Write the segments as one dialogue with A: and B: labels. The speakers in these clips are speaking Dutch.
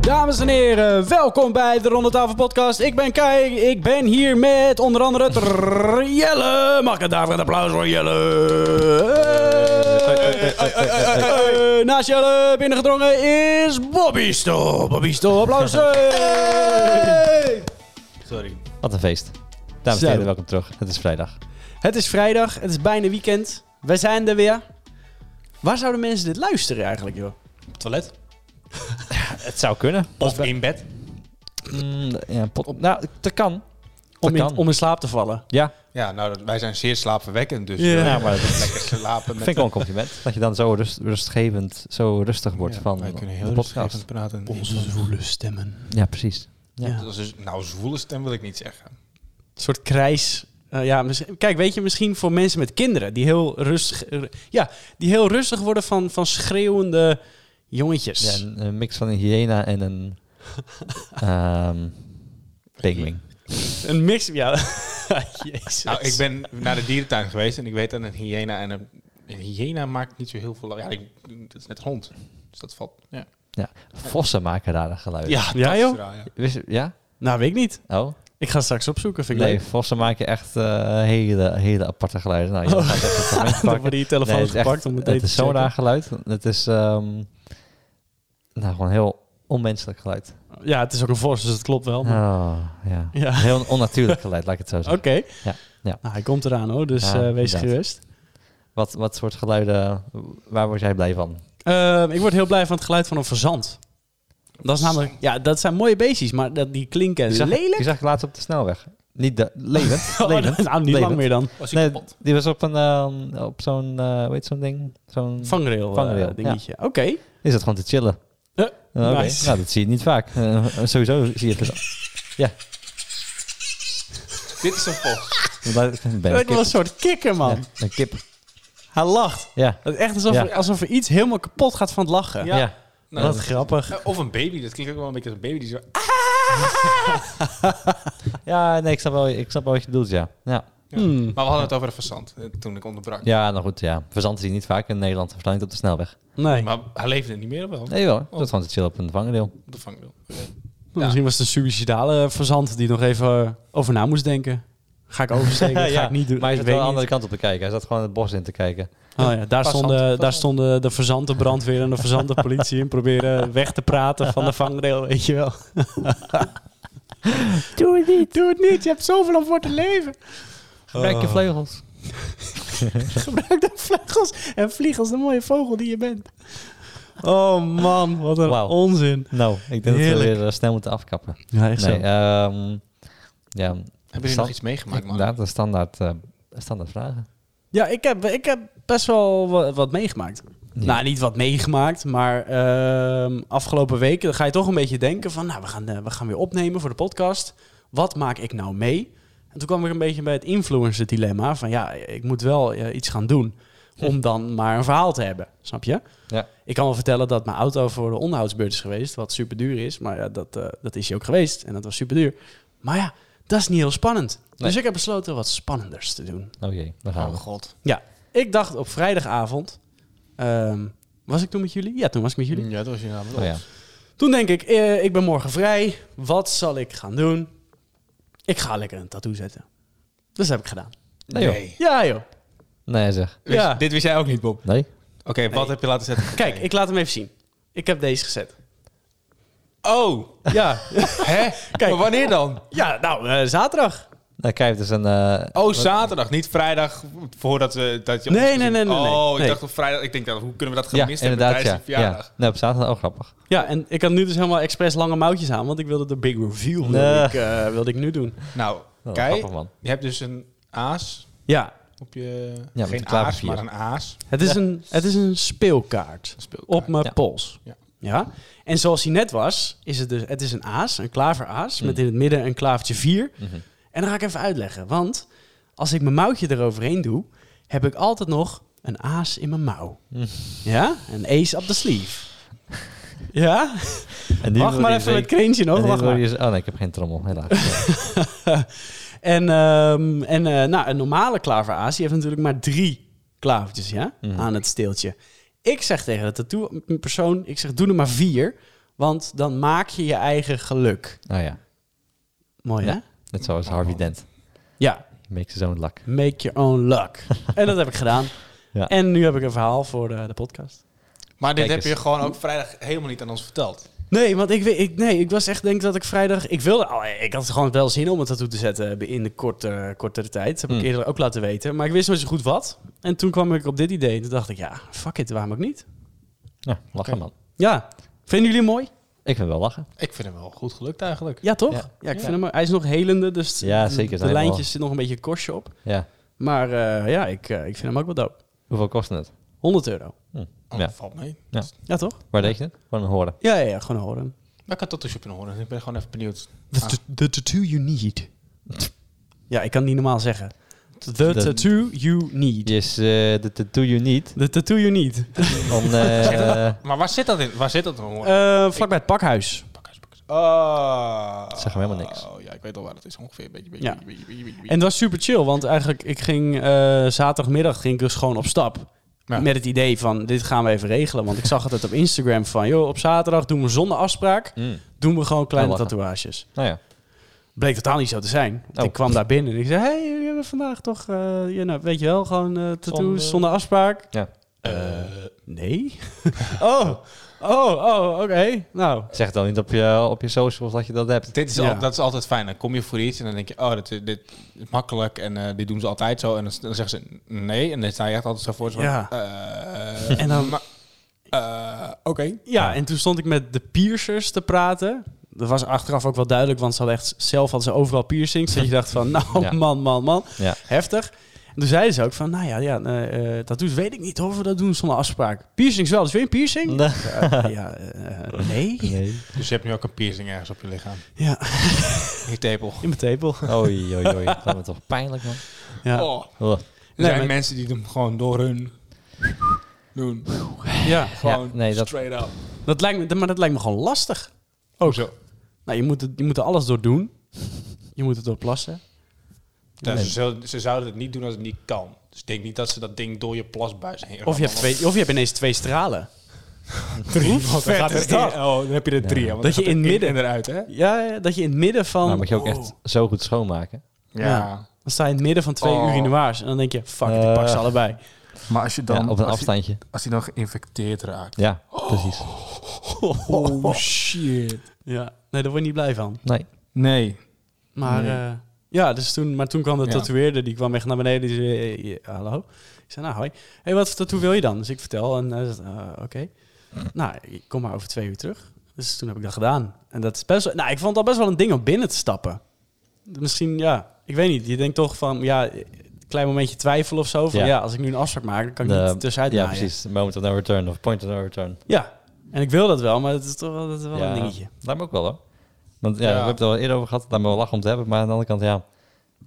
A: Dames en heren, welkom bij de Ronde Tafel Podcast. Ik ben Kai, ik ben hier met onder andere het Rrrr- Jelle. Mag ik het daarvoor een applaus voor Jelle? Hey. Eh, Naast Jelle binnengedrongen is Bobby Stoel. Bobby Stoel, applaus. Hey.
B: Sorry.
C: Wat een feest. Dames en
A: Zo.
C: heren, welkom terug. Het is vrijdag.
A: Het is vrijdag, het is bijna weekend. We zijn er weer. Waar zouden mensen dit luisteren eigenlijk, joh?
B: Toilet.
C: Het zou kunnen.
B: Of in bed.
C: Mm, ja, pot, nou, dat kan.
A: Om in,
C: kan.
A: om in slaap te vallen.
C: Ja,
B: Ja, nou, dat- wij zijn zeer slaapverwekkend, dus
A: Ja.
B: wil je
C: Ja, maar dat
B: lekker slapen. Met
C: vind ik wel een compliment. Dat je dan zo rust, rustgevend, zo rustig wordt
B: Ja,
C: van
B: wij kunnen heel
C: de podcast.
B: rustgevend praten.
A: zwoele stemmen.
C: Ja, precies.
A: Ja.
B: Dat is- nou, zwoele stem wil ik niet zeggen.
A: Een soort krijs. Eh, ja, mis- kijk, weet je, misschien voor mensen met kinderen die heel rustig, eh, ja, die heel rustig worden van, van schreeuwende jongetjes.
C: Ja, een, een mix van een hyena en een ehm pinguïn.
A: Een mix. Ja, jezus.
B: Nou, ik ben naar de dierentuin geweest en ik weet dat een hyena en een... Een hyena maakt niet zo heel veel... Ja, ik, dat is net een hond. Dus dat valt... Ja,
C: Vossen maken rare geluiden.
B: ja,
A: Ja,
B: dat
A: joh.
B: is raar, ja.
C: Wist je- ja?
A: Nou, weet ik niet.
C: Oh?
A: Ik ga straks opzoeken. Vind ik
C: Nee,
A: leuk.
C: vossen maken echt eh, hele, hele aparte geluiden. Nou, je
A: Oh.
C: gaat echt het moment
A: Dan
C: pakken.
A: worden die telefoons
C: het is echt-
A: gepakt om meteen
C: Het is
A: te
C: zo'n
A: checken.
C: raar geluid. Het is ehm, nou, gewoon heel onmenselijk geluid.
A: Ja, het is ook een vos, dus het klopt wel. maar-
C: Oh, ja.
A: Ja.
C: Heel onnatuurlijk geluid, laat ik het zo
A: Oké.
C: zeggen.
A: Ja,
C: Ja, ja.
A: Nou, hij komt eraan hoor, dus
C: Ja,
A: eh, wees
C: inderdaad.
A: gerust.
C: Wat, wat soort geluiden, waar word jij blij van?
A: Eh, ik word heel blij van het geluid van een verzand. Dat is namelijk, ja, dat zijn mooie beestjes, maar dat, die klinken
C: Die zag,
A: lelijk.
C: die zag ik laatst op de snelweg. Niet de, levend.
A: Oh, nou,
C: levend.
A: niet lang
C: levend.
A: meer dan.
B: Was ik
C: Nee,
B: kapot?
C: die was op, een, ehm, op zo'n, eh, hoe heet zo'n ding? Zo'n,
A: Vangrail, eh,
C: Vangrail,
A: dingetje. Oké.
C: is het gewoon te chillen.
A: Eh,
C: Oh, oké.
A: nice.
C: Nou, dat zie je niet vaak. Eh, sowieso zie je het.
B: Dit is een vos.
C: Dat ben
A: Dat
C: een
A: was
C: kip.
A: een soort kikker, man.
C: Ja, een kip.
A: Hij lacht.
C: Ja.
A: Het is echt alsof,
C: Ja.
A: er, alsof er iets helemaal kapot gaat van het lachen.
B: Ja.
C: Ja.
B: Nou,
A: Wat grappig.
B: eh, Of een baby. Dat klinkt ook wel een beetje als een baby die zo...
C: ja, nee, ik snap, wel, ik snap wel wat je bedoelt, ja. Ja.
B: Ja.
A: Hmm.
B: Maar we hadden het over de verzand eh, toen ik onderbrak.
C: Ja, nou goed, ja. Verzandt hij niet vaak in Nederland, vooral niet op de snelweg.
A: Nee.
B: Maar hij leefde niet meer wel.
C: Nee, wel. Dat is gewoon te chill op een vangendeel.
B: Op de vangrail.
A: Nou, Misschien was het een suicidale verzand die nog even eh, over na moest denken. Ga ik oversteken? Dat ga ik niet doen.
C: Maar
A: Ik
C: hij zat
A: weet
C: wel de
A: niet.
C: andere kant op te kijken. Hij zat gewoon het bos in te kijken.
A: Oh ja, daar,
B: Passant,
A: stonden, daar
B: passant.
A: stonden de verzante brandweer en de verzante politie in. Proberen weg te praten van de vangrail, weet je wel. Doe het niet. Doe het niet. Je hebt zoveel om voor te leven.
C: Gebruik je vleugels.
A: Gebruik de vleugels en vlieg als de mooie vogel die je bent. Oh man, wat een
C: Wauw.
A: onzin.
C: Nou, ik denk dat we
A: Heerlijk.
C: weer eh, snel moeten afkappen.
A: Ja, echt
C: nee, ehm, ja.
B: Hebben jullie nog iets meegemaakt, man?
C: Inderdaad, een standaard, eh, standaard vragen.
A: Ja, ik heb, ik heb best wel wa- wat, meegemaakt.
C: Ja.
A: Nou, niet wat meegemaakt, maar ehm, afgelopen weken dan ga je toch een beetje denken van... Nou, we gaan, eh, we gaan weer opnemen voor de podcast. Wat maak ik nou mee? En toen kwam ik een beetje bij het influencer dilemma. Van ja, ik moet wel eh, iets gaan doen om dan maar een verhaal te hebben. Snap je?
C: Ja.
A: Ik kan wel vertellen dat mijn auto voor de onderhoudsbeurt is geweest. Wat super duur is. Maar ja, dat, eh, dat is hij ook geweest. En dat was super duur. Maar ja, dat is niet heel spannend.
C: Nee.
A: Dus ik heb besloten wat spannenders te doen.
C: Oh jee, daar gaan
B: Oh
C: we.
B: god.
A: Ik dacht op vrijdagavond. ehm, was ik toen met jullie? Ja, toen was ik met jullie.
B: Mm, Ja, dat was je namelijk.
C: Oh ja.
A: Toen denk ik, eh, ik ben morgen vrij. Wat zal ik gaan doen? Ik ga lekker een tattoo zetten. Dus dat heb ik gedaan.
C: Nee, joh.
A: Ja, joh.
C: Nee, zeg.
B: Wist-
A: Ja.
B: Dit wist jij ook niet, Bob.
C: Nee?
B: Oké, wat heb je laten zetten?
A: Kijk, ik laat hem even zien. Ik heb deze gezet.
B: Oh,
A: Ja,
B: hè?
A: Kijk.
B: Maar wanneer dan?
A: ja nou, eh, zaterdag.
C: Nou, kijk, het is een... eh,
B: Oh, zaterdag, niet vrijdag voordat we dat je.
A: Nee,
B: ons
A: nee, nee, nee, nee.
B: Oh, ik
A: Nee.
B: dacht op vrijdag. Ik denk dat hoe kunnen we dat
C: ja,
B: gemist hebben
C: inderdaad,
B: tijdens
C: ja.
B: de
C: ja.
B: verjaardag?
C: Nee, op zaterdag ook grappig.
A: Ja, en ik had nu dus helemaal expres lange mouwtjes aan, want ik wilde de big reveal wilde,
C: Nee.
A: ik, eh, wilde ik nu doen.
B: Nou,
A: Oh,
C: Wel
B: kijk,
C: Oh, Grappig, man.
B: je hebt dus een aas
A: Ja,
B: op je
C: met een
B: geen aas,
C: klavervier.
B: maar een aas.
A: het is, een, het is een speelkaart.
B: Een speelkaart.
A: op mijn
C: Ja.
A: pols. Ja.
B: Ja.
A: En zoals hij net was, is het dus, het is een aas, een klaveraas,
C: Mm.
A: met in het midden een klavertje 4.
C: Mhm.
A: En dan ga ik even uitleggen, want als ik mijn mouwtje eroverheen doe, heb ik altijd nog een aas in mijn mouw.
C: Mm.
A: Ja, een ace up the sleeve. ja,
C: En die
A: wacht
C: wil
A: maar
C: je
A: even met
C: zeker-
A: Kreentje nog,
C: en die
A: wacht
C: wil
A: maar.
C: je z- Oh nee, ik heb geen trommel, helaas.
A: En, ehm, en eh, nou, een normale klaveraas die heeft natuurlijk maar drie klavertjes ja,
C: Mhm.
A: aan het steeltje. Ik zeg tegen de tattoo-persoon, ik zeg doe er maar vier. Want dan maak je je eigen geluk.
C: Oh ja,
A: Mooi,
C: Ja.
A: hè?
C: net zoals Harvey Dent.
A: Ja,
C: He makes his own luck.
A: make your own luck. en dat heb ik gedaan.
C: Ja.
A: En nu heb ik een verhaal voor eh, de, de podcast.
B: Maar dit
C: Kijk
B: heb
C: eens.
B: je gewoon ook vrijdag helemaal niet aan ons verteld.
A: Nee, want ik, weet- ik, nee, ik was echt denk dat ik vrijdag... Ik wilde... oh, ik had gewoon wel zin om het tattoo te zetten in de korte, kortere tijd. Dat heb ik
C: Hmm.
A: eerder ook laten weten. Maar ik wist nooit zo goed wat. En toen kwam ik op dit idee. En toen dacht ik, ja, fuck it, waarom ook niet?
C: Ja, lachen
B: Oké.
C: man.
A: Ja, vinden jullie hem mooi?
C: Ik vind wel lachen.
B: Ik vind hem wel goed gelukt eigenlijk.
A: Ja, toch? Ja,
C: Ja.
A: ik
B: Ja.
A: vind hem... Hij is nog helende, dus
C: Ja,
A: de-
C: zeker,
A: de
C: zijn wel.
A: lijntjes zit nog een beetje een korstje op.
C: Ja.
A: Maar eh, ja, ik, eh, ik vind hem ook wel dope.
C: Hoeveel kost het?
A: 100 euro.
C: Hm.
B: Oh,
C: Ja.
B: valt mee.
A: Ja, toch?
C: Waar deed je het? Gewoon een horen.
A: Ja, ja, ja gewoon horen.
B: Maar ik had tattoos op in horen. Ik ben gewoon even benieuwd.
A: The,
B: Ah.
A: t- the tattoo you need. Ja, ik kan het niet normaal zeggen. The, tattoo you need.
C: Dus eh, de tattoo you need.
A: The tattoo you need.
C: Om, eh,
B: Maar waar zit dat in? Waar zit dat in horen?
A: Eh, vlakbij het pakhuis.
B: Pakhuis, pakhuis. Oh.
C: Zeg hem helemaal niks.
B: Oh ja, ik weet al waar dat is. Ongeveer een beetje, beetje,
A: Ja.
B: beetje, beetje, beetje, beetje.
A: En dat was super chill, want eigenlijk ik ging eh, zaterdagmiddag ging ik dus gewoon op stap.
B: Ja.
A: Met het idee van, dit gaan we even regelen. Want ik zag altijd op Instagram van, joh, op zaterdag doen we zonder afspraak,
C: mm.
A: doen we gewoon kleine
C: Oh, lachen.
A: tatoeages.
C: Nou ja.
A: Bleek totaal niet zo te zijn. Want
C: Oh.
A: Ik kwam daar binnen en ik zei, hey, jullie hebben vandaag toch, eh, ja, nou, weet je wel, gewoon eh, tattoos zonder,
B: Zonder-
A: afspraak.
C: ja.
B: Eh,
A: Nee? oh, oh, oh, oké. Nou,
C: Zeg het dan niet op je, op je socials dat je dat hebt.
B: dit is
A: Ja.
B: al, dat is altijd fijn. Dan kom je voor iets en dan denk je, oh, dit, is- dit is makkelijk en eh, dit doen ze altijd zo. En dan, dan zeggen ze nee. En dan sta je echt altijd zo voor. Zo van,
A: Ja.
B: eh,
A: En dan-
B: maar- eh, Oké.
A: ja, en toen stond ik met de piercers te praten. Dat was achteraf ook wel duidelijk, want ze hadden echt zelf hadden ze overal piercings. Dat je dacht van, nou
C: Ja.
A: man, man, man,
C: Ja.
A: heftig. En toen zeiden ze ook van, nou ja, ja eh, eh, tattoos weet ik niet of we dat doen zonder afspraak. Piercings wel, dus weer een piercing?
C: Nee.
A: Eh, ja, eh, nee.
C: Nee.
B: Dus je hebt nu ook een piercing ergens op je lichaam.
A: Ja,
B: Je tepel.
A: in mijn tepel.
C: Oei, oei, oei. Dat wordt toch pijnlijk, man.
A: Ja.
B: Oh.
C: Ugh.
B: Er
A: Nee,
B: zijn
A: maar-
B: mensen die hem gewoon door hun doen.
A: Ja,
B: Gewoon
C: nee, dat-
B: straight up.
A: dat lijkt me, dat- maar dat lijkt me gewoon lastig.
B: Oh, zo.
A: Nou, je moet, het, je moet er alles door doen. Je moet het door plassen.
B: Ja,
C: Nee.
B: Nou, ze, zullen- ze zouden het niet doen als het niet kan. Dus ik denk niet dat ze dat ding door je plasbuis heen
A: Of je hebt, twee, of je hebt ineens twee stralen.
B: drie.
A: Hoe
B: Want dan,
A: vet
B: gaat
A: is
B: er
A: dat?
B: één- oh, dan heb je er drie.
C: Ja.
B: hè, want
A: Dat
B: dan
A: je
B: gaat
A: in
B: er
A: midden-
B: één en eruit, hè?
A: Ja, ja, dat je in het midden van...
C: Maar Nou, moet je ook echt zo goed schoonmaken.
A: Ja. Dan sta je in het midden van twee
B: Oh.
A: urinoirs. En dan denk je, fuck, ik
C: Eh.
A: pak ze allebei.
B: Maar als je
C: ja, op een afstandje.
B: als hij dan geïnfecteerd raakt.
C: Ja, precies.
B: Oh, shit.
A: Ja, nee, daar word je niet blij van.
C: Nee.
B: Nee.
A: Maar,
B: Nee.
A: eh, ja, dus toen, maar toen kwam de
B: Ja.
A: tatoeëerder, die kwam echt naar beneden. Die zei, eh, eh, hallo? Ik zei, nou, hoi. Hé, hey, wat voor tattoo wil je dan? Dus ik vertel en hij zegt, eh, oké. Nou, ik kom maar over twee uur terug. Dus toen heb ik dat gedaan. En dat is best wel, nou, ik vond dat best wel een ding om binnen te stappen. Misschien, ja, ik weet niet. Je denkt toch van, ja, een klein momentje twijfel of zo. Van, ja.
C: Ja.
A: als ik nu een afspraak maak, dan kan ik
C: De-
A: niet tussenuit
C: Ja,
A: naaien.
C: precies. Moment of no return of point of no return.
A: Ja, en ik wil dat wel, maar het is toch wel, dat is wel
C: ja,
A: een dingetje.
C: Lijkt me ook wel, hoor. Want ja,
B: Ja.
C: we hebben het al eerder over gehad. Daar me wel lachen om te hebben. Maar aan de andere kant, ja.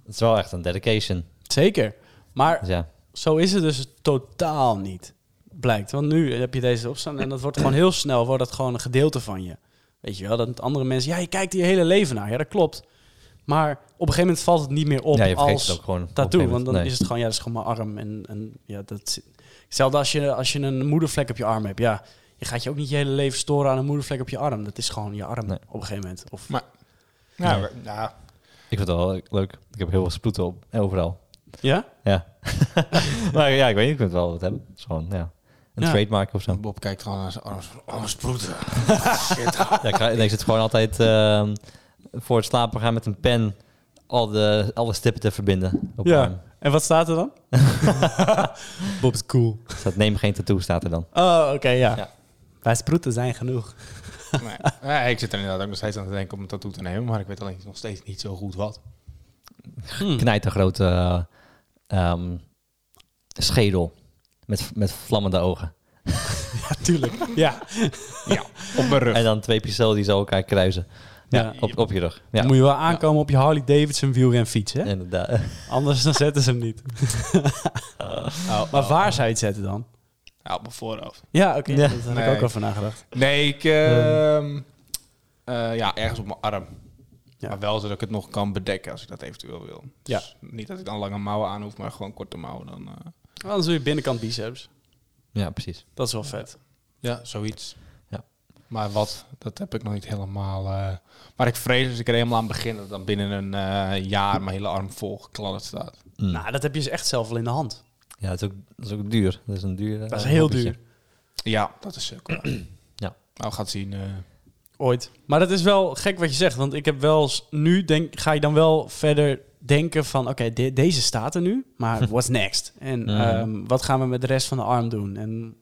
C: Het is wel echt een dedication.
A: Zeker. Maar
C: Dus ja.
A: Zo is het dus totaal niet, blijkt. Want nu heb je deze opstaan en dat wordt gewoon heel snel wordt dat gewoon een gedeelte van je. Weet je wel, dat andere mensen... Ja, je kijkt je hele leven naar. Ja, dat klopt. Maar op een gegeven moment valt het niet meer op
C: ja, je vergeet
A: als
C: het ook gewoon. op een
A: tattoo.
C: gegeven
A: Want dan
C: moment.
A: is het gewoon, ja, dat is gewoon mijn arm. En, en ja, dat... zit- Hetzelfde als je, als je een moedervlek op je arm hebt. Ja, je gaat je ook niet je hele leven storen aan een moedervlek op je arm. Dat is gewoon je arm
C: Nee.
A: op een gegeven moment. Of,
B: Maar- Ja,
C: Nee.
B: Nou, we- ja.
C: Ik vind het wel leuk. Ik heb heel veel sproeten op. Overal.
A: ja?
C: Ja. maar ja, ik weet niet. Ik vind het wel wat hebben. Het is gewoon, ja. Een
A: Ja.
C: trademark of zo.
B: Bob kijkt gewoon naar zijn arm. Oh, sproeten.
C: Ja, ik, ga- en ik zit gewoon altijd ehm, voor het slapen gaan met een pen al de, alle stippen te verbinden. Op
A: Ja.
C: ja.
A: En wat staat er dan? Bob is cool.
C: Staat, Dus neem geen tattoo, staat er dan.
A: Oh, oké, ja.
C: Ja.
A: Wij sproeten zijn genoeg.
B: Nee. Nee, ik zit er inderdaad ook nog steeds aan te denken om een tattoo te nemen. Maar ik weet alleen nog steeds niet zo goed wat.
A: Hm.
C: Knijt een grote eh, ehm, schedel met, met vlammende ogen.
A: Ja, tuurlijk. Ja.
B: Ja, op mijn rug.
C: En dan twee pistolen die zo elkaar kruisen.
A: Ja.
C: Ja, op, op je rug.
A: Dan
C: Ja,
A: moet je wel aankomen op je Harley Davidson wielrenfiets, hè?
C: inderdaad.
A: Anders dan zetten ze hem niet.
B: Oh,
A: Maar waar zou je het zetten dan?
B: Ja, Nou, op mijn voorhoofd.
A: Ja, oké.
C: Ja.
A: Dat had
B: Nee.
A: ik ook over nagedacht.
B: Nee, ik... ehm, eh, ja, ergens op mijn arm.
A: Ja.
B: Maar wel zodat ik het nog kan bedekken als ik dat eventueel wil. Dus
A: Ja.
B: niet dat ik dan lange mouwen aan hoef, maar gewoon korte mouwen. Dan, eh,
A: Anders doe je binnenkant biceps.
C: Ja, precies.
A: Dat is wel vet.
B: ja, zoiets.
C: Ja.
B: Maar wat, dat heb ik nog niet helemaal. eh, maar ik vrees als ik er helemaal aan begin, dat dan binnen een eh, jaar mijn hele arm vol gekladderd staat.
C: Mm.
A: Nou, dat heb je dus echt zelf wel in de hand.
C: Ja, dat is, ook, dat is ook duur. Dat is een duur. eh,
A: Dat is heel duur.
B: Ja, dat is ook.
C: Ja.
B: Nou, we gaan zien. eh.
A: Ooit. Maar dat is wel gek wat je zegt. Want ik heb wel eens- nu denk, ga je dan wel verder denken van oké, de- deze staat er nu, maar what's next? En
C: Ja.
A: ehm, wat gaan we met de rest van de arm doen? En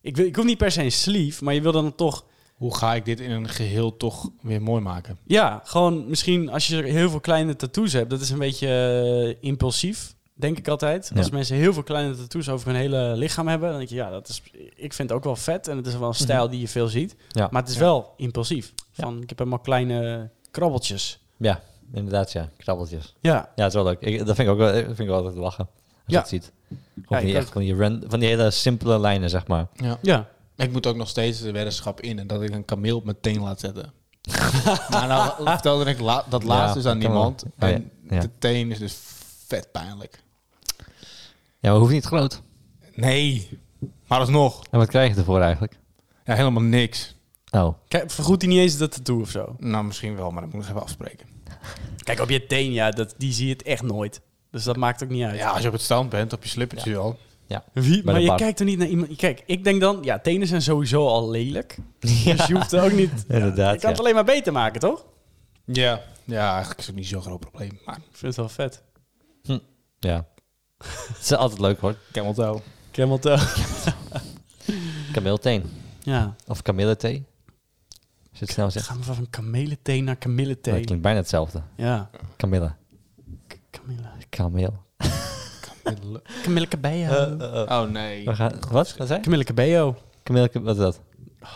A: ik, wil, ik hoef niet per se een sleeve, maar je wil dan toch.
B: Hoe ga ik dit in een geheel toch weer mooi maken?
A: Ja, gewoon misschien als je heel veel kleine tattoos hebt, dat is een beetje eh, impulsief. Denk ik altijd.
C: Ja.
A: Als mensen heel veel kleine tattoos over hun hele lichaam hebben, dan denk je, ja, dat is, ik vind het ook wel vet. En het is wel een stijl die je veel ziet.
C: Mhm. Ja.
A: Maar het is
B: Ja.
A: wel impulsief. Van, Ik heb helemaal kleine krabbeltjes.
C: Ja, inderdaad, ja. Krabbeltjes.
A: Ja,
C: Ja, het is wel leuk. Ik, dat vind ik ook wel, dat vind ik wel altijd lachen. Als je
A: Ja.
C: dat ziet. Gewoon
A: ik
C: van, die, echt,
A: ook.
C: van, die ran- van die hele simpele lijnen, zeg maar.
B: Ja.
A: ja.
B: Ik moet ook nog steeds de weddenschap in en dat ik een kameel op mijn teen laat zetten. maar nou vertelde ik la- dat laatst
C: Ja,
B: dus aan
C: kan
B: niemand.
C: wel. Ja,
B: En
C: ja.
B: de teen is dus vet pijnlijk.
C: Ja, maar hoeft niet groot.
B: Nee, maar alsnog.
C: En wat krijg je ervoor eigenlijk?
B: Ja, helemaal niks.
C: Oh,
A: Kijk, vergoedt hij niet eens dat tattoo of zo?
B: Nou, misschien wel, maar dat moet ik nog even afspreken.
A: Kijk, op je teen, ja, dat, die zie je het echt nooit. Dus dat maakt ook niet uit.
B: Ja, als je op het stand bent, op je slippertje al.
A: Wie,
C: Bij
A: maar
C: de
A: je
C: bar.
A: kijkt er niet naar iemand... Kijk, ik denk dan, ja, tenen zijn sowieso al lelijk. Dus je hoeft er ook niet...
C: Inderdaad,
A: Je kan het
C: ja.
A: alleen maar beter maken, toch?
B: Ja. Ja, eigenlijk is het niet zo'n groot probleem. Maar
A: Ik vind het wel vet.
C: ja. het is altijd leuk hoor.
B: camel toe.
A: Camel toe.
C: Kameelteen.
A: Ja,
C: Of kamillethee. Als je het snel
A: dan
C: zegt.
A: gaan we van kameleteen naar kamillethee.
C: Dat klinkt bijna hetzelfde.
A: Ja.
C: Kamille.
A: K- Camille.
C: Kameel.
A: Camille Cabello.
C: Eh,
B: Oh nee.
C: We gaan, wat? Wat zei je?
A: Camille Cabello.
C: Kameel, wat is dat?
B: Dat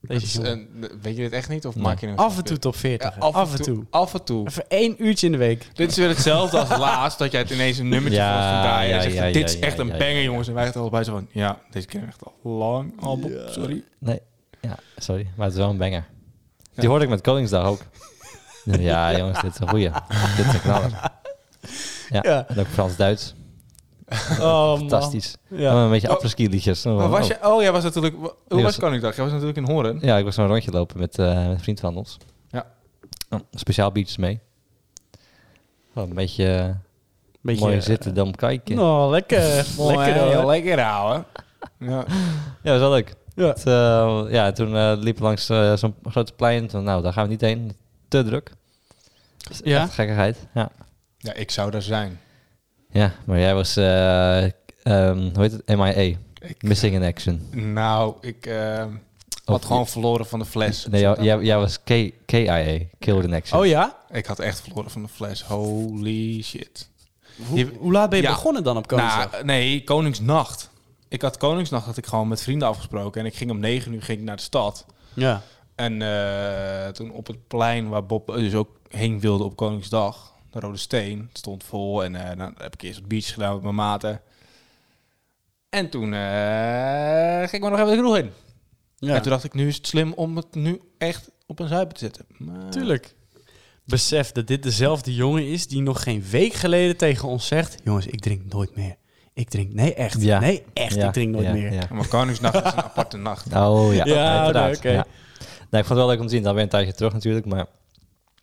A: Deze
B: is
A: jongen.
B: een- weet je dit echt niet? Of
C: Nee.
B: maak je een
A: af en toe top 40.
B: Ja,
A: af, en toe.
B: Af en toe.
A: Even één uurtje in de week.
B: Dit is weer hetzelfde als laatst, dat jij het ineens een nummertje
C: Ja,
B: van ons draaien.
C: ja,
B: en zegt,
C: ja,
B: dit
C: ja,
B: is echt
C: ja,
B: een
C: ja,
B: banger,
C: ja.
B: jongens. En wij echt allebei zo van, ja, deze kennen we echt al lang. Al, Sorry.
C: Nee. Ja, sorry. Maar het is wel een banger. Die hoorde ik met Koningsdag ook. ja, jongens, dit is een goeie. dit is een knaller. Ja,
A: Ja.
C: en ook Frans-Duits.
A: Oh, man.
C: Fantastisch.
A: Ja.
C: En een beetje
B: Oh.
C: afterski liedjes.
B: Maar was je, oh, jij was natuurlijk... Hoe
C: was-
B: was Koningsdag? Jij was natuurlijk in Horen.
C: oh. Ja, ik was zo'n rondje lopen met, eh, met een vriend van ons.
B: Ja.
C: Oh, speciaal biertjes mee. Gewoon een beetje, eh,
A: Beetje, eh,
C: mooi zitten, dan kijken.
A: Nou, lekker. lekker hoor.
B: Lekker houden. Ja.
C: Ja, dat was wel leuk.
A: Ja.
C: Het, eh, ja, toen eh, liepen we langs eh, zo'n grote plein. Toen, nou, daar gaan we niet heen. Te druk. Dus
A: Ja?
C: echt gekkigheid. Ja.
B: ja, ik zou daar zijn.
C: ja, maar jij was, eh, ehm, hoe heet het? MIA.
B: Ik-
C: Missing in action.
B: Nou, ik eh, had
C: Of-
B: gewoon verloren van de fles.
C: Nee, jou- jij, jij was K KIA. Killed in action.
A: Oh ja?
B: Ik had echt verloren van de fles. Holy shit.
A: Hoe,
B: Je-
A: hoe laat ben je
B: Ja.
A: begonnen dan op Koningsdag?
B: Nou, nee, Koningsnacht. Ik had Koningsnacht had ik gewoon met vrienden afgesproken. En ik ging om negen uur ging ik naar de stad.
A: ja.
B: En eh, toen op het plein waar Bob dus ook heen wilde op Koningsdag, de Rode Steen, het stond vol. En eh nou, daar heb ik eerst wat biertjes gedaan met mijn maten. En toen eh, ging ik maar nog even de kroeg in.
A: ja.
B: En toen dacht ik, nu is het slim om het nu echt op een zuipen te zetten. Maar-
A: Tuurlijk. Besef dat dit dezelfde jongen is die nog geen week geleden tegen ons zegt... Jongens, ik drink nooit meer. Ik drink... Nee, echt.
C: Ja.
A: Nee, echt.
C: Ja,
A: ik drink nooit
C: ja,
A: meer.
C: ja.
B: Maar Koningsnacht is een aparte nacht.
C: Oh ja,
A: Ja,
C: inderdaad.
A: nee, oké.
C: Ja. Nee, ik vond het wel leuk om te zien. Dan ben je een tijdje terug natuurlijk, maar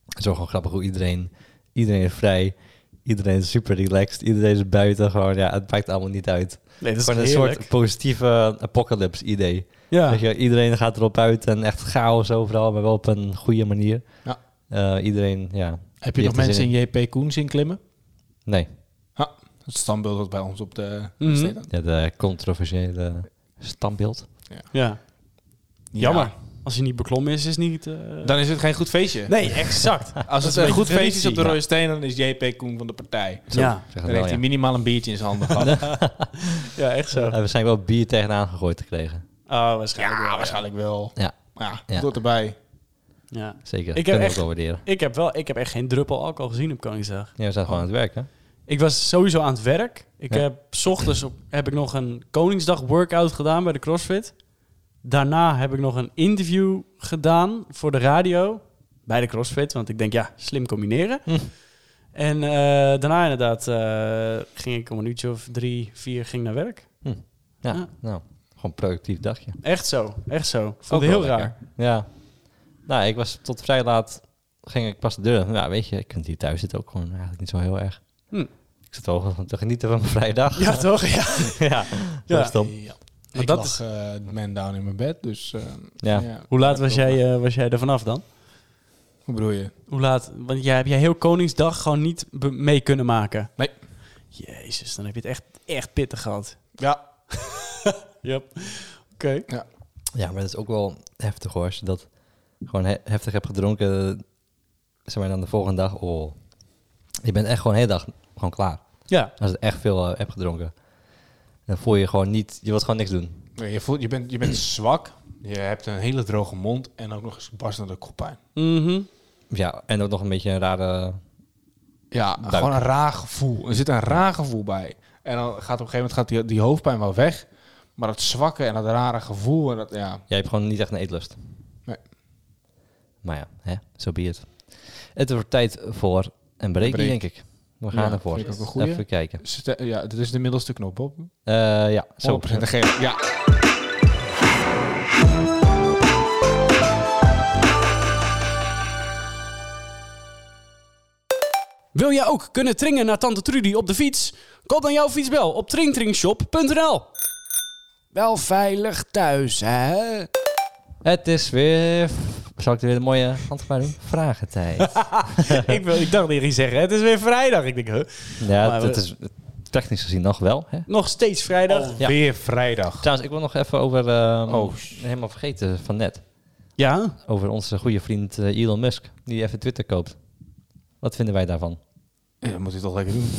C: het is wel gewoon grappig hoe iedereen, iedereen is vrij, iedereen is super relaxed, iedereen is buiten gewoon. Ja, het maakt allemaal niet uit.
A: Nee, dat is
C: Gewoon een
A: heerlijk.
C: soort positieve apocalypse idee.
A: Ja.
C: Weet je, iedereen gaat erop uit en echt chaos overal, maar wel op een goede manier.
B: Ja.
C: Eh, iedereen, ja,
B: Heb je
C: je
B: nog
C: nog er
B: mensen
C: zin
B: in JP Koen zien klimmen?
C: nee,
B: Het standbeeld dat bij ons op de
A: Mhm.
B: steen staat.
C: ja, de controversiële standbeeld.
A: ja. Jammer. Als hij niet beklommen is, is het niet... eh,
B: Ja. Dan is het geen goed feestje.
A: Nee, exact.
B: Als het
A: een
B: een goed
A: beetje
B: feestje is op de
A: traditie.
B: Rode Steen, dan is JP Koen van de partij.
C: Zo,
A: Ja.
C: zeg
B: Dan
C: het
B: heeft
C: wel,
B: hij
C: ja.
B: minimaal een biertje in zijn handen gehad.
A: Ja, echt zo.
C: Eh, We
A: Oh,
C: hebben waarschijnlijk wel bier tegenaan gegooid gekregen.
A: waarschijnlijk
B: Ja,
A: wel,
B: Ah, waarschijnlijk wel.
C: Ja.
B: Maar ja,
C: Ja.
B: tot erbij.
A: Ja.
C: Zeker.
A: heb
C: Kunnen we
A: echt-
C: ook wel waarderen.
A: Ik heb wel... Ik heb echt geen druppel alcohol gezien op Koningsdag.
C: Ja, we zijn
A: Oh.
C: gewoon aan het werk, hè?
A: Ik was sowieso aan het werk. Ik
C: Ja.
A: heb 's ochtends op, heb ik nog een Koningsdag workout gedaan bij de CrossFit. Daarna heb ik nog een interview gedaan voor de radio bij de CrossFit. Want ik denk, ja, slim combineren.
C: Hm.
A: En eh, daarna inderdaad eh, ging ik om een uurtje of drie, vier ging naar werk.
C: Ja,
A: Ja.
C: nou, Gewoon een productief dagje.
A: Echt zo, echt zo.
C: Ook
A: Vond het heel
C: wel
A: raar.
C: lekker. Ja. Nou, ik was tot vrij laat, ging ik pas de deur. uit. Nou, weet je, ik vind hier thuis zit ook gewoon eigenlijk niet zo heel erg.
A: Hm.
C: Ik zit wel gewoon te genieten van mijn vrije dag.
A: Ja, toch? Ja.
C: ja. Zo is het dan.
B: Ja.
A: Maar
B: ik
A: dat
B: dat lag
A: is-
B: is... man down in mijn bed, dus... eh,
C: Ja.
A: Hoe laat was jij, eh, was jij er vanaf dan?
B: Hoe bedoel je?
A: Hoe laat? Want jij heb jij heel Koningsdag gewoon niet be- mee kunnen maken.
B: Nee.
A: Jezus, dan heb je het echt, echt pittig gehad.
B: Ja.
A: Yep. Oké.
C: Ja, maar dat is ook wel heftig hoor. Als je dat gewoon he- heftig hebt gedronken, eh, zeg maar dan de volgende dag, oh. Je bent echt gewoon de hele dag gewoon klaar.
A: Ja.
C: Als je echt veel eh, hebt gedronken. Dan voel je gewoon niet, je wilt gewoon niks doen.
B: Nee, Je, voelt, je, bent, je bent zwak, je hebt een hele droge mond en ook nog eens barstende koppijn.
A: Mhm.
C: Ja, en ook nog een beetje een rare...
B: Ja,
C: Duik.
B: gewoon een raar gevoel. Er zit een raar gevoel bij. En dan gaat op een gegeven moment gaat die, die hoofdpijn wel weg. Maar dat zwakke en dat rare gevoel, en dat, ja,
C: Jij hebt gewoon niet echt een eetlust.
B: Nee.
C: Maar ja, hè, zo be het. Het wordt tijd voor een breakie,
B: break.
C: denk ik. We gaan
B: Ja,
C: ervoor.
B: vind ik ook een goeie.
C: Even kijken.
B: Ste- ja, dit is de middelste knop, Bob. 100%
C: Eh, ja, zo.
B: de gele. Ja.
A: Wil jij ook kunnen tringen naar Tante Trudy op de fiets? Koop dan jouw fietsbel op tringtringshop.nl. Wel veilig thuis, hè?
C: Het is weer... Zal ik er weer een mooie handgebaar doen? Vragentijd.
A: ik, wil, ik dacht niet eens zeggen, het is weer vrijdag. Ik denk, huh?
C: ja,
A: Maar
C: dat
A: we-
C: is technisch gezien nog wel. Hè?
A: Nog steeds vrijdag.
C: Ja.
B: Weer vrijdag.
C: Trouwens, ik wil nog even over... ehm,
B: Oh.
C: Helemaal vergeten van net.
A: Ja.
C: Over onze goede vriend eh, Elon Musk. Die even Twitter koopt. Wat vinden wij daarvan?
B: Ja, dat moet hij toch lekker doen.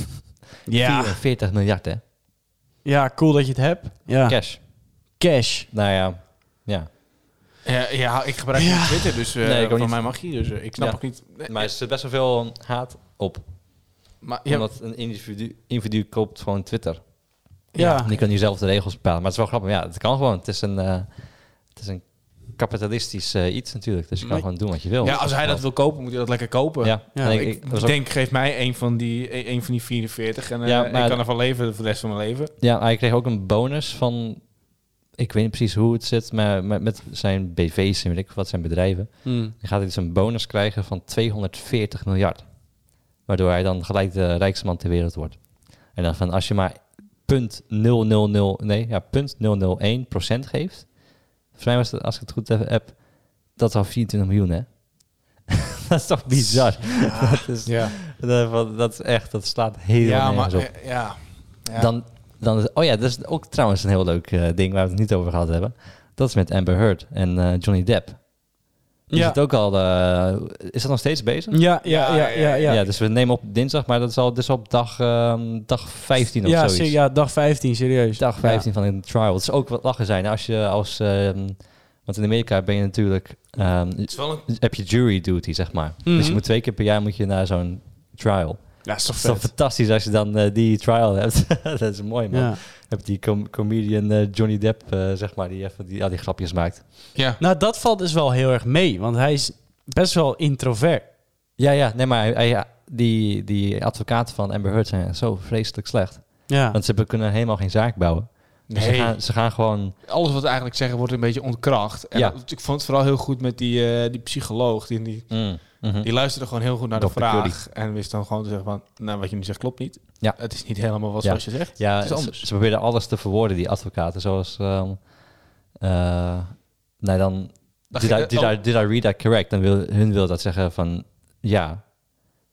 A: Ja.
C: 44 miljard, hè?
A: Ja, cool dat je het hebt. Ja.
C: Cash.
A: Cash.
C: Nou ja, ja.
B: Ja, ja ik gebruik
A: Ja.
B: niet Twitter, dus eh
C: Nee, ik ook
B: van
C: niet.
B: mij mag je. Dus eh, ik snap
C: Ja.
B: ook niet. Nee,
C: Maar er zit best wel veel haat op.
B: maar, ja,
C: Omdat een individu, individu koopt gewoon Twitter.
A: Ja.
C: En die kan nu zelf de regels bepalen. Maar het is wel grappig. Ja, het kan gewoon. Het is een, eh, het is een kapitalistisch eh, iets natuurlijk. Dus je kan
A: Maar-
C: gewoon doen wat je wil.
B: ja, als hij dat wil kopen, moet hij dat lekker kopen.
C: Ja,
A: Ja,
C: En ik,
B: Ik,
C: ik- dat was ook-
B: denk, geef mij een van die, e- een van die 44 en eh,
C: Ja, maar-
B: ik kan ervan leven voor de rest van mijn leven.
C: ja, hij kreeg ook een bonus van... Ik weet niet precies hoe het zit, maar met, met zijn BV's en weet ik wat zijn bedrijven.
A: Hmm.
C: Dan gaat hij dus een bonus krijgen van 240 miljard. Waardoor hij dan gelijk de rijkste man ter wereld wordt. En dan van als je maar 0,000, nee, ja, 0,001 procent geeft. Volgens mij was dat, als ik het goed heb, dat is al 24 miljoen, hè? dat is toch bizar? dat, is,
B: Ah, Ja,
C: dat, van- dat is echt, dat slaat helemaal
B: ja
C: nergens
B: maar
C: op.
B: eh, ja. ja.
C: Dan, dan is, oh ja, dat is ook trouwens een heel leuk eh, ding waar we het niet over gehad hebben. Dat is met Amber Heard en eh, Johnny Depp. Die
A: Ja.
C: zit ook al, eh, is dat nog steeds bezig?
A: Ja, ja, ja, ja.
C: Ja.
A: ja.
C: dus we nemen op dinsdag, maar dat is al dus op dag, ehm, dag 15 of
A: Ja,
C: zoiets.
A: se- ja, dag 15, serieus.
C: Dag 15 van een trial. Het is ook wat lachen zijn als je als... ehm, want in Amerika ben je natuurlijk... ehm,
B: Het is wel een
C: heb je jury duty, zeg maar.
A: Mhm.
C: Dus je moet twee keer per jaar moet je naar zo'n trial.
A: Ja, is toch
C: Het is toch fantastisch als je dan eh, die trial hebt. dat is mooi, man.
A: Ja.
C: Heb die com- comedian eh, Johnny Depp, eh, zeg maar, die, even die al die grapjes maakt.
B: ja.
A: Nou, dat valt dus wel heel erg mee, want hij is best wel introvert.
C: Ja, ja, nee, maar hij, hij- die, die advocaten van Amber Heard zijn zo vreselijk slecht.
A: Ja.
C: Want ze hebben- kunnen helemaal geen zaak bouwen. Dus
B: Ah. Nee.
C: ze, gaan, ze gaan gewoon...
B: alles wat we eigenlijk zeggen wordt een beetje ontkracht. En
C: Ja.
B: dat- ik vond het vooral heel goed met die, eh, die psycholoog. Die, die,
C: mhm.
B: die luisterde gewoon heel goed naar de
C: Dr.
B: vraag. En wist dan gewoon te zeggen van, nou wat je nu zegt klopt niet.
C: Ja.
B: Het is niet helemaal wat
C: Ja.
B: zoals je zegt.
C: Ja,
B: Het is
C: ze,
B: anders.
C: ze proberen alles te verwoorden, die advocaten. Zoals, ehm eh, nou dan,
B: Dan
C: did
B: ging
C: I,
B: het
C: did,
B: al-
C: I, did I read that correct? Dan wil, hun wil dat zeggen van, ja.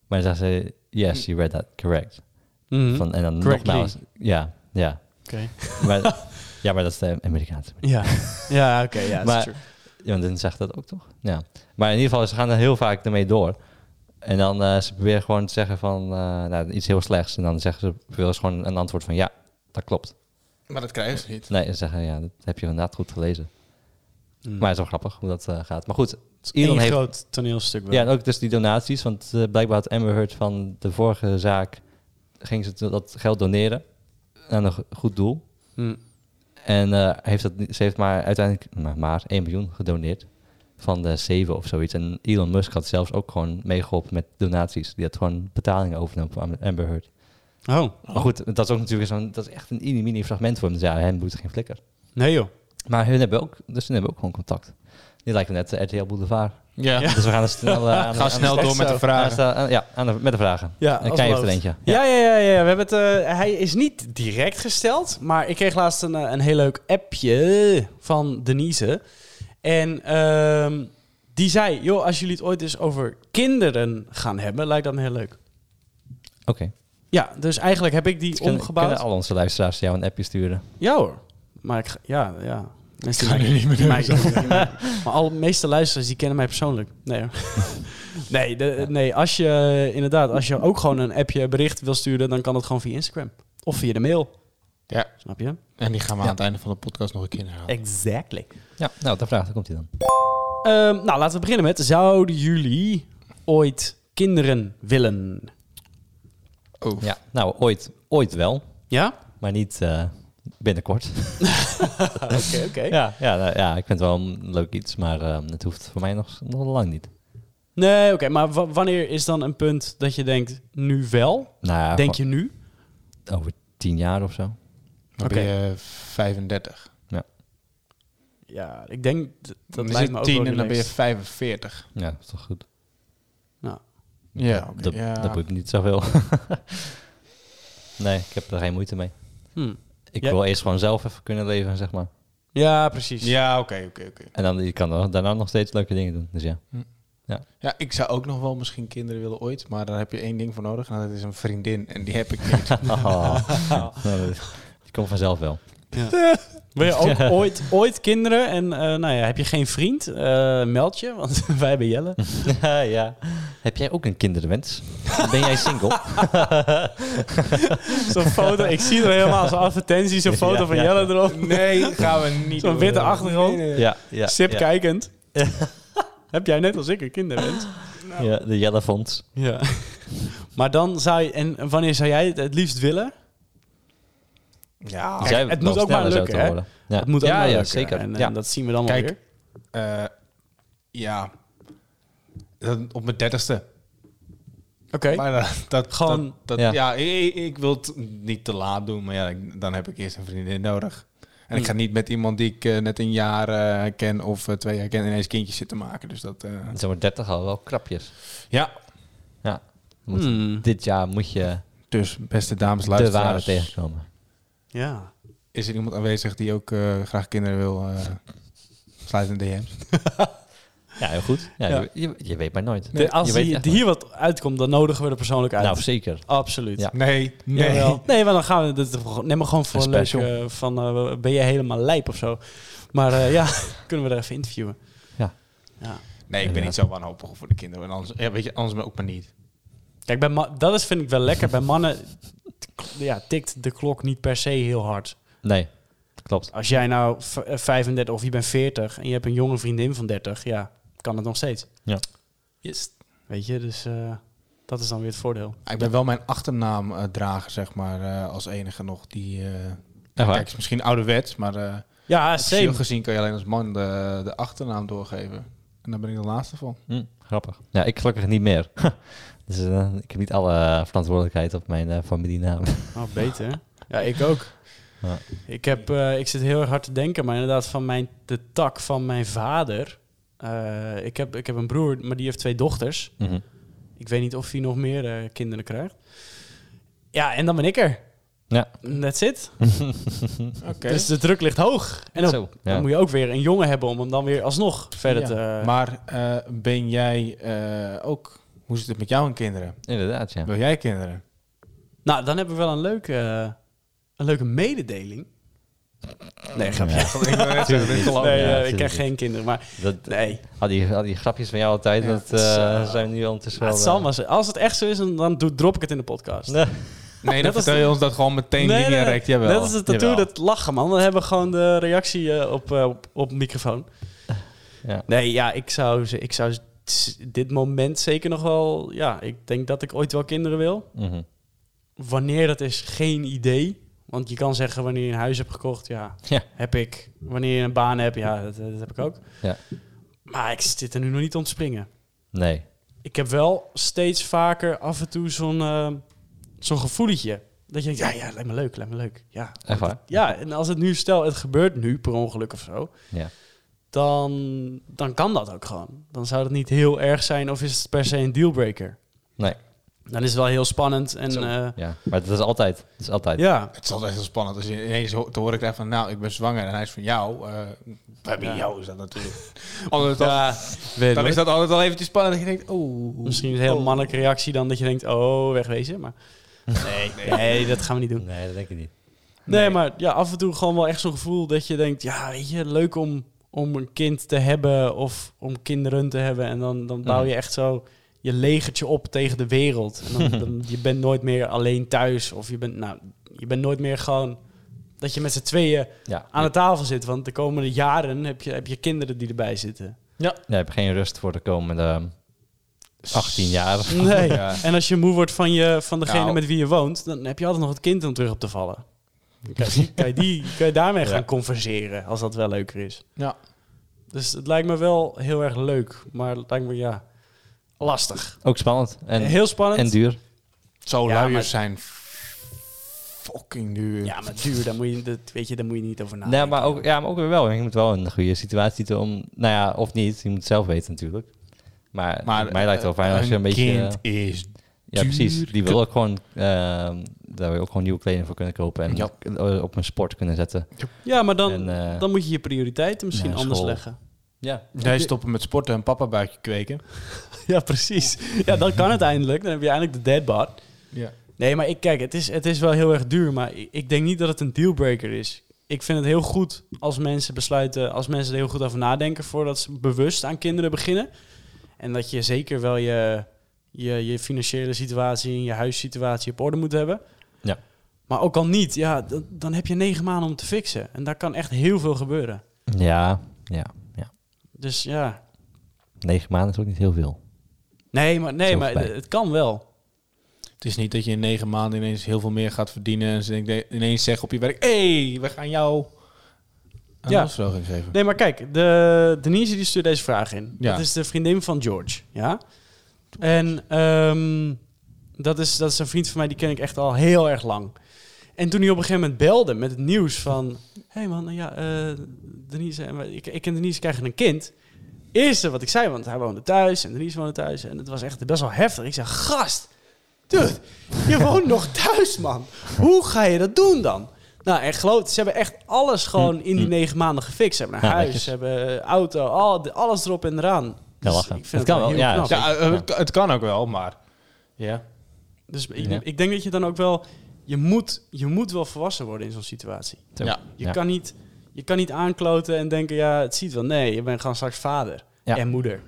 C: Maar dan zeggen ze, yes,
B: Mm.
C: you read that correct.
B: Mm-hmm.
A: Mhm.
C: Van, en dan
A: Correctly.
C: nogmaals, ja, ja.
A: Oké.
C: Maar, ja, maar dat is de Amerikaanse.
A: Ja, ja oké. ja,
C: Maar-
A: is true.
C: Ja, want dan zegt dat ook toch? Ja. Maar in ieder geval, ze gaan er heel vaak ermee door. En dan eh, ze proberen gewoon te zeggen van eh, nou, iets heel slechts. En dan zeggen ze, willen ze gewoon een antwoord van ja, dat klopt.
B: Maar dat krijgen ze niet.
C: Nee, ze zeggen ja, dat heb je inderdaad goed gelezen.
A: Mm.
C: Maar het is wel grappig hoe dat eh, gaat. Maar goed,
A: Het is
C: Elon
A: één
C: heeft-
A: groot toneelstuk wel.
C: ja, en ook dus die donaties. Want eh, blijkbaar had Amber Heard van de vorige zaak... ging ze dat geld doneren aan een go- goed doel.
A: Mhm.
C: En eh, heeft dat, niet- ze heeft maar uiteindelijk maar, maar 1 miljoen gedoneerd. Van de 7 of zoiets. En Elon Musk had zelfs ook gewoon meegeholpen met donaties. Die had gewoon betalingen overgenomen van Amber Heard.
A: Oh,
C: Maar goed, dat is ook natuurlijk zo'n... Dat is echt een mini-mini fragment voor hem. Dus ja, hem doet geen flikker.
A: nee joh.
C: Maar hun hebben ook, dus hun hebben ook gewoon contact. Die lijkt me net eh, de RTL Boulevard.
B: Ja.
A: Ja.
C: Dus we gaan er snel, eh, aan, de-
B: Ga
C: aan
B: snel
C: de-
B: door met de
A: zo.
C: aan
B: vragen.
C: de- aan- ja, aan de- met de vragen.
A: Ja,
C: En
A: als
C: Kai heeft
A: beloofd.
C: er eentje.
A: Ja, ja, ja, ja. We hebben het, eh, hij is niet direct gesteld, maar ik kreeg laatst een, eh, een heel leuk appje van Denise. En ehm, die zei, joh, als jullie het ooit eens over kinderen gaan hebben, lijkt dat me heel leuk.
C: Oké.
A: Ja, dus eigenlijk heb ik die
C: Kunnen-
A: omgebouwd.
C: Kunnen al onze luisteraars jou een appje sturen?
A: Ja hoor. Maar ik ga- ja, ja. Mensen
B: ga
A: die
B: nu
A: mij-
B: niet meer
A: die mij-
B: doen,
A: die mij- Maar al de meeste luisteraars die kennen mij persoonlijk. Nee hoor. nee, de- nee, als je eh, inderdaad, als je ook gewoon een appje bericht wil sturen, dan kan dat gewoon via Instagram. Of via de mail.
B: Ja.
A: Snap je?
B: En die gaan we
C: Ja.
B: aan het einde van de podcast nog een keer herhalen.
A: Exactly.
C: Ja, nou, de vraag, daar komt hij dan.
A: nou, laten we beginnen met, zouden jullie ooit kinderen willen?
B: Oh.
C: Ja, nou, ooit, ooit wel,
A: Ja?
C: maar niet eh, binnenkort.
A: Oké, oké.
C: Ja, ja, nou, ja, ik vind het wel een leuk iets, maar eh, het hoeft voor mij nog, nog lang niet.
A: Nee, oké, maar wa- wanneer is dan een punt dat je denkt, nu wel?
C: Nou, ja,
A: Denk je nu?
C: gewoon over tien jaar of zo.
B: Dan
A: Oké.
B: ben je 35.
A: Ja, ik denk, d- dat
B: Dan
A: lijkt
B: is
A: me
B: het
A: ook
B: 10
A: wel
B: en dan ben je
A: relaxed.
B: 45.
C: Ja, dat is toch goed.
A: Nou.
B: Ja, oké,
C: dat,
B: ja.
C: dat boeit me niet zoveel. nee, ik heb er geen moeite mee.
A: Hmm.
C: Ik
A: Ja.
C: wil eerst gewoon zelf even kunnen leven, zeg maar.
A: Ja, precies.
B: Ja, oké, oké, oké.
C: En dan je kan dan- daarna nog steeds leuke dingen doen. Dus ja.
B: Ja, ik zou ook nog wel misschien kinderen willen ooit, maar daar heb je één ding voor nodig en dat is een vriendin en die heb ik niet.
C: Nou, dat- die komt vanzelf wel.
A: Wil je ook ooit, ooit kinderen en eh, nou ja, heb je geen vriend, Eh meld je, want wij hebben Jelle.
C: ja. Heb jij ook een kinderwens? Ben jij single?
A: Zo'n foto, ik zie er helemaal zo'n advertentie, zo'n foto
C: Ja,
A: van
C: ja.
A: Jelle erop.
B: Nee, gaan we niet.
A: Zo'n
B: doen.
A: witte achtergrond.
B: Nee, nee, nee.
C: ja, ja.
A: Sip
C: ja,
A: kijkend. heb jij net als ik een kinderwens?
C: ja, de Jelle Fonds.
A: Ja. maar dan zou je, en wanneer zou jij het het liefst willen?
B: Ja,
C: Dus
B: kijk,
C: jij
A: het
C: wil
A: moet ook maar
C: sneller zo
A: lukken,
C: te
A: hè?
C: horen. Ja.
A: Het moet ook
C: ja,
A: wel
C: ja,
A: lukken.
C: zeker.
A: En, eh,
C: ja.
A: dat zien we dan wel
B: Kijk,
A: weer.
B: eh, ja. Dan op mijn dertigste.
A: Oké.
B: Maar dat, dat,
A: Gewoon-
B: dat- dat-
C: Ja.
B: ja, ik, ik wil het niet te laat doen, maar ja, ik- dan heb ik eerst een vriendin nodig. En ik
A: Hm.
B: ga niet met iemand die ik eh, net een jaar eh, ken of eh, twee jaar ken ineens kindjes zitten maken. Dus dat, eh,
C: Het zijn maar 30 al wel krapjes.
B: ja.
C: Ja. Dan moet-
A: Hmm.
C: Dit jaar moet je
B: Dus beste dames,
C: de ware
B: luisteraars.
C: tegenkomen.
A: Ja.
B: Is er iemand aanwezig die ook eh, graag kinderen wil? eh sluit een DM.
C: Ja, heel goed. Ja,
A: Ja.
C: Je, je, je weet maar nooit.
A: De- als
C: je weet
A: die-
C: echt
A: hier wat uitkomt, dan nodigen we er persoonlijk uit.
C: nooit. Nou, zeker.
A: Absoluut.
C: Ja.
B: Nee, nee.
A: Nee. nee, maar dan gaan we dit neem maar gewoon voor
C: Een
A: een leuk
C: special.
A: eh, van eh, ben je helemaal lijp of zo. Maar eh, ja, kunnen we er even interviewen.
C: Ja.
A: Ja.
B: Nee, ik ben niet zo wanhopig voor de kinderen. En anders, ja, weet je, anders ben ik ook maar niet.
A: Kijk, bij ma- dat is, vind ik wel lekker. Bij mannen t- ja, tikt de klok niet per se heel hard.
C: Nee, klopt.
A: Als jij nou v- eh, 35 of je bent 40 en je hebt een jonge vriendin van 30, ja, kan het nog steeds.
B: Yes.
A: Weet je, dus eh, dat is dan weer het voordeel.
B: Ik ben wel mijn achternaam eh, drager, zeg maar, eh, als enige nog. Die, eh
C: Echt waar?
B: kijk, is misschien ouderwets, maar eh
A: Ja,
B: officieel
A: same.
B: gezien kan je alleen als man de, de achternaam doorgeven. En daar ben ik de laatste van.
C: Hm, grappig. Ja, ik gelukkig niet meer. dus eh, ik heb niet alle verantwoordelijkheid op mijn eh, familienaam.
A: Oh, beter. Ja, ik ook.
C: Ja.
A: Ik, heb, eh, ik zit heel erg hard te denken, maar inderdaad, van mijn, de tak van mijn vader. eh, ik, heb, ik heb een broer, maar die heeft twee dochters.
C: Mhm.
A: Ik weet niet of hij nog meer eh, kinderen krijgt. Ja, en dan ben ik er.
C: Ja.
A: That's it.
B: Oké.
A: Dus de druk ligt hoog. En dan,
C: Zo.
A: dan
C: Ja.
A: moet je ook weer een jongen hebben om hem dan weer alsnog verder
B: Ja.
A: te... Maar,
B: Maar eh, ben jij eh, ook... Hoe zit het met jou en kinderen?
C: Inderdaad, ja.
B: Wil jij kinderen?
A: nou, dan hebben we wel een leuke, eh, een leuke mededeling. Nee, grapje.
C: Ja.
B: ik wil net zeggen, dit geloof ik.
A: Nee, eh,
C: Oh, Ja,
A: ik
C: tuurlijk
A: krijg geen kinderen, maar
C: Dat,
A: nee.
C: al, die, al die grapjes van jou altijd,
B: Ja,
C: dat
B: het is,
C: eh,
B: eh,
C: zijn nu ondertussen
A: Ja,
C: wel...
A: Ah, het zal
C: eh,
A: maar zijn. Als het echt zo is, dan- dan doe- drop ik het in de podcast.
C: Nee.
B: Nee,
A: Net
B: dan
A: als
B: vertel je ons dat gewoon meteen
A: Nee,
B: direct.
A: nee, nee.
B: Jawel.
A: Net als het tattoo,
B: Jawel.
A: dat lachen, man. Dan hebben we gewoon de reactie eh, op, eh, op, op microfoon.
C: Ja.
A: Nee, ja, ik zou, ze- ik zou s- dit moment zeker nog wel... Ja, ik denk dat ik ooit wel kinderen wil.
C: Mhm.
A: Wanneer, dat is geen idee. Want je kan zeggen, wanneer je een huis hebt gekocht, ja,
C: Ja.
A: heb ik. Wanneer je een baan hebt, ja, dat, dat heb ik ook.
C: Ja.
A: Maar ik zit er nu nog niet om te springen.
C: Nee.
A: Ik heb wel steeds vaker af en toe zo'n eh, zo'n gevoeletje. Dat je denkt, ja, ja, lijkt me leuk, lijkt me leuk. Ja.
C: Echt waar?
A: ja, en als het nu, stel het gebeurt nu per ongeluk of zo,
C: Ja.
A: dan, dan kan dat ook gewoon. Dan zou dat niet heel erg zijn of is het per se een dealbreaker.
C: Nee.
A: Dan is het wel heel spannend en
B: Zo.
A: eh,
C: Ja, maar dat is altijd. Dat is altijd.
A: ja.
B: Het is altijd heel spannend als je ineens ho- te horen krijgt van... nou, ik ben zwanger en hij is van jou. eh bij
A: Ja.
B: jou is dat natuurlijk. Anders dan,
A: Ja, weet
B: dan
A: ik.
B: is dat altijd al eventjes spannend. Dat je denkt, oh...
A: Misschien een heel
B: oh.
A: mannelijke reactie dan dat je denkt, oh, wegwezen. Maar
B: Nee, nee.
A: nee, dat gaan we niet doen.
C: Nee, dat denk ik niet.
A: Nee,
B: Nee.
A: maar ja, af en toe gewoon wel echt zo'n gevoel dat je denkt, ja, weet je, leuk om, om een kind te hebben of om kinderen te hebben. En dan, dan bouw je echt zo je legertje op tegen de wereld. En dan, dan- je bent nooit meer alleen thuis of je bent, nou, je bent nooit meer gewoon dat je met z'n tweeën
C: Ja.
A: aan de tafel zit. Want de komende jaren heb je, heb je kinderen die erbij zitten.
C: Nee, ik heb geen rust voor de komende ehm, 18 jaar.
A: Nee.
B: Ja.
A: En als je moe wordt van, je, van degene
B: Nou.
A: met wie je woont, dan heb je altijd nog het kind om terug op te vallen. Dan Kan je, kan je, die, kan je daarmee gaan converseren, als dat wel leuker is.
B: Ja.
A: Dus het lijkt me wel heel erg leuk, maar het lijkt me, ja, lastig.
C: Ook spannend. En,
A: heel spannend.
C: en duur.
B: Zo
A: Ja,
B: luiers
A: maar-
B: zijn fucking duur.
A: Ja, maar duur, daar moet je, dat, weet je, daar moet je niet over nadenken.
C: nee, maar ook, ja, maar ook weer wel. Je moet wel in een goede situatie zitten om... Nou ja, of niet. Je moet het zelf weten natuurlijk. Maar, mij lijkt het wel fijn als je een beetje...
B: kind
C: eh,
B: is
C: ja, precies. Die
B: duur.
C: wil ook gewoon... ehm, daar wil je ook gewoon nieuwe kleding voor kunnen kopen. En
B: Ja.
C: eh, op een sport kunnen zetten.
A: Ja, maar dan,
C: en, eh,
A: dan moet je je prioriteiten misschien
C: naar
A: anders
C: school.
A: leggen.
C: Ja.
B: Nee, stoppen met sporten en papa buikje kweken.
A: Ja, precies. Ja, dan kan het eindelijk. Dan heb je eindelijk de deadbot.
B: Ja.
A: Nee, maar ik kijk, het is, het is wel heel erg duur, maar ik, ik denk niet dat het een dealbreaker is. Ik vind het heel goed als mensen besluiten, als mensen er heel goed over nadenken voordat ze bewust aan kinderen beginnen. En dat je zeker wel je, je, je financiële situatie en je huissituatie op orde moet hebben.
C: Ja.
A: Maar ook al niet, ja, d- dan heb je negen maanden om te fixen. En daar kan echt heel veel gebeuren.
C: Ja, ja, ja.
A: Dus ja,
C: Negen maanden is ook niet heel veel.
A: nee, maar, nee,
C: Zo
A: maar
C: voorbij.
A: het, het kan wel.
B: Het is niet dat je in negen maanden ineens heel veel meer gaat verdienen. En ze denk- ineens zeggen op je werk: hé, hey, we gaan jou
A: Ja.
B: een ja. afslaging geven.
A: Nee, maar kijk, de, Denise die stuurt deze vraag in.
B: Ja.
A: Dat is de vriendin van George, ja. En ehm, dat, is, dat is een vriend van mij, die ken ik echt al heel erg lang. En toen hij op een gegeven moment belde met het nieuws van... Hé hey man, ja, eh, Denise en wij- ik, ik en Denise krijgen een kind. Eerste wat ik zei, want hij woonde thuis en Denise woonde thuis. En het was echt best wel heftig. Ik zei, gast, dude, je woont nog thuis, man. Hoe ga je dat doen dan? Nou, en geloof het, ze hebben echt alles gewoon in die negen maanden gefixt. Ze hebben een
C: Mm, Ja,
A: huis,
C: netjes.
A: ze hebben eh, auto, al, alles erop en eraan. Dus
C: lachen.
A: ik vind
C: Het kan wel,
A: heel
C: ja,
A: knap.
B: Ja, eh, het, het kan ook wel, maar. Ja.
A: Dus ik,
C: Ja.
A: ik denk dat je dan ook wel... Je moet, je moet wel volwassen worden in zo'n situatie.
C: Zo.
B: Ja.
A: Je,
C: Ja.
A: kan niet, je kan niet aankloten en denken, ja, het ziet wel. Nee, je bent gewoon straks vader
C: Ja.
A: en moeder.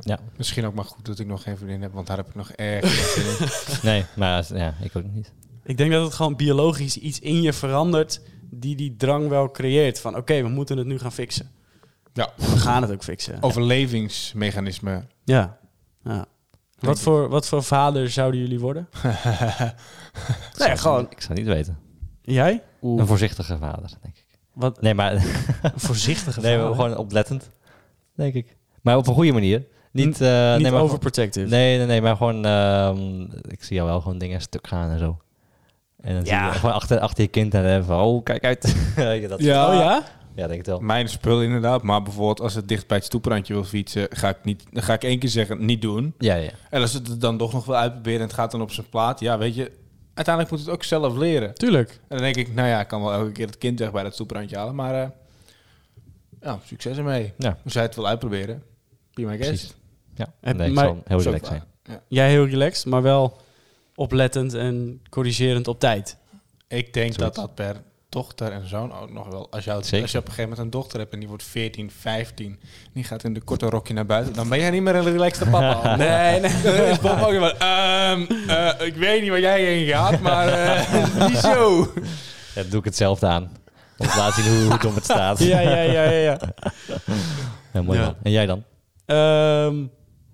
C: Ja.
B: Misschien ook maar goed dat ik nog geen vriendin heb, want daar heb ik nog erg. geen zin in.
C: Nee, maar ja, ik ook niet.
A: Ik denk dat het gewoon biologisch iets in je verandert... die die drang wel creëert. Van, oké, we moeten het nu gaan fixen.
B: Ja.
A: We gaan het ook fixen.
C: Oh.
B: Overlevingsmechanisme.
A: Ja. ja. Wat,
B: ik.
A: voor, wat voor vader zouden jullie worden? nee, gewoon.
C: Ik zou het niet weten.
A: Jij?
C: Een voorzichtige vader, denk ik.
A: Wat
C: Nee, maar
A: een voorzichtige
C: nee, maar
A: vader.
C: gewoon oplettend, denk ik. Maar op een goede manier. Niet, eh,
A: Niet
C: nee, maar
A: overprotective.
C: gewoon- nee, nee, nee, maar gewoon... ehm, ik zie jou wel gewoon dingen stuk gaan en zo. En dan
A: Ja.
C: zie je gewoon achter, achter je kind en dan van... Oh, kijk uit. ja, dat,
B: Ja.
A: Oh ja?
C: ja, denk ik wel.
B: Mijn spul inderdaad, maar bijvoorbeeld als het dicht bij het stoeprandje wil fietsen, ga ik, niet, dan ga ik één keer zeggen: niet doen.
C: Ja, ja.
B: En als het het dan toch nog wil uitproberen en het gaat dan op zijn plaat, ja, weet je, uiteindelijk moet het ook zelf leren.
A: Tuurlijk.
B: En dan denk ik, nou ja, ik kan wel elke keer het kind weg bij dat stoeprandje halen, maar eh, ja, succes ermee.
C: Ja.
B: Als jij het wil uitproberen, be my guest.
C: Precies. ja.
A: Eh,
C: Nee, ik
A: maar-
C: zal heel
B: Zo
C: relaxed
B: vaak.
C: zijn.
A: Jij heel relaxed, maar wel oplettend en corrigerend op tijd.
B: Ik denk
C: Zoiets.
B: dat dat per dochter en zoon ook nog wel. Als, jou, als je
C: Zeker.
B: op een gegeven moment een dochter hebt en die wordt 14, 15, en die gaat in de korte rokje naar buiten, dan ben jij niet meer een relaxte papa. nee, nee. Dan is papa ook weer van, ehm, eh, ik weet niet waar jij heen gaat, maar eh, niet zo.
C: Ja, dan doe ik hetzelfde aan. Om te laten zien hoe goed om het staat.
A: Ja, ja, ja, ja. ja.
C: Ja, mooi
A: Ja.
C: man. En jij dan?
A: Ehm,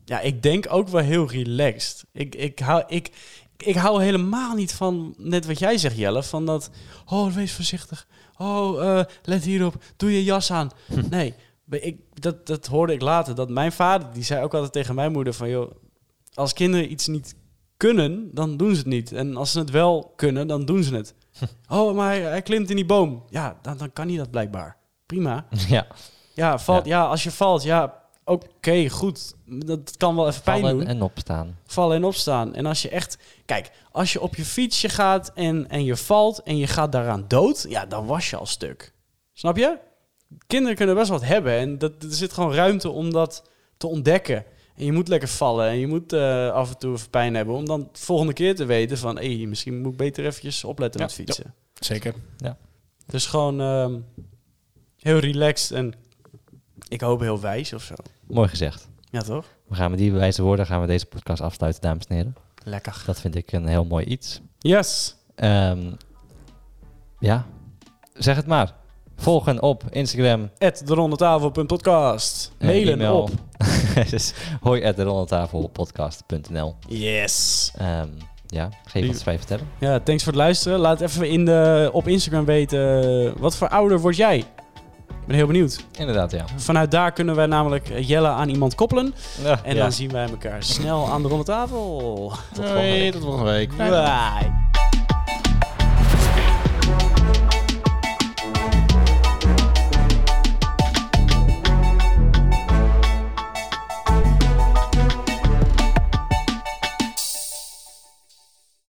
A: ja, ik denk ook wel heel relaxed. Ik, ik, hou, ik, ik hou helemaal niet van, net wat jij zegt Jelle, van dat, oh wees voorzichtig, oh eh, let hierop, doe je jas aan. Nee, maar ik, dat, dat hoorde ik later, dat mijn vader, die zei ook altijd tegen mijn moeder van, joh, als kinderen iets niet kunnen, dan doen ze het niet. En als ze het wel kunnen, dan doen ze het. Oh, maar hij, hij klimt in die boom. Ja, dan, dan kan hij dat blijkbaar. Prima.
C: ja.
A: Ja, valt, ja. als je valt, ja, oké, goed. Dat kan wel even pijn
C: Vallen
A: doen.
C: en opstaan.
A: Vallen en opstaan. En als je echt... Kijk, als je op je fietsje gaat en, en je valt en je gaat daaraan dood... Ja, dan was je al stuk. Snap je? Kinderen kunnen best wat hebben. En dat, er zit gewoon ruimte om dat te ontdekken. En je moet lekker vallen. En je moet eh, af en toe even pijn hebben. Om dan de volgende keer te weten van... Hé, misschien moet ik beter eventjes opletten
B: Ja,
A: met fietsen.
B: Zeker.
A: Dus gewoon ehm, heel relaxed en ik hoop heel wijs of zo.
C: Mooi gezegd.
A: Ja, toch?
C: We gaan met die wijze woorden gaan we deze podcast afsluiten, dames en heren.
A: Lekker.
C: Dat vind ik een heel mooi iets.
A: Yes.
C: Ehm, ja, zeg het maar. Volgen op Instagram.
A: At de ronde tafel.podcast.
C: eh,
A: Mailen
C: e-mail.
A: op.
C: dus hoi at rondetafelpodcast.nl.
A: Yes.
C: Ehm, ja, geef ons vijf sterren.
A: Ja, thanks voor het luisteren. Laat even in de, op Instagram weten, wat voor ouder word jij? Ik ben heel benieuwd.
C: Inderdaad, ja.
A: Vanuit daar kunnen wij namelijk Jelle aan iemand koppelen. En
C: ja.
A: dan zien wij elkaar snel aan de ronde tafel.
C: volgende week.
B: tot volgende week.
A: Bye.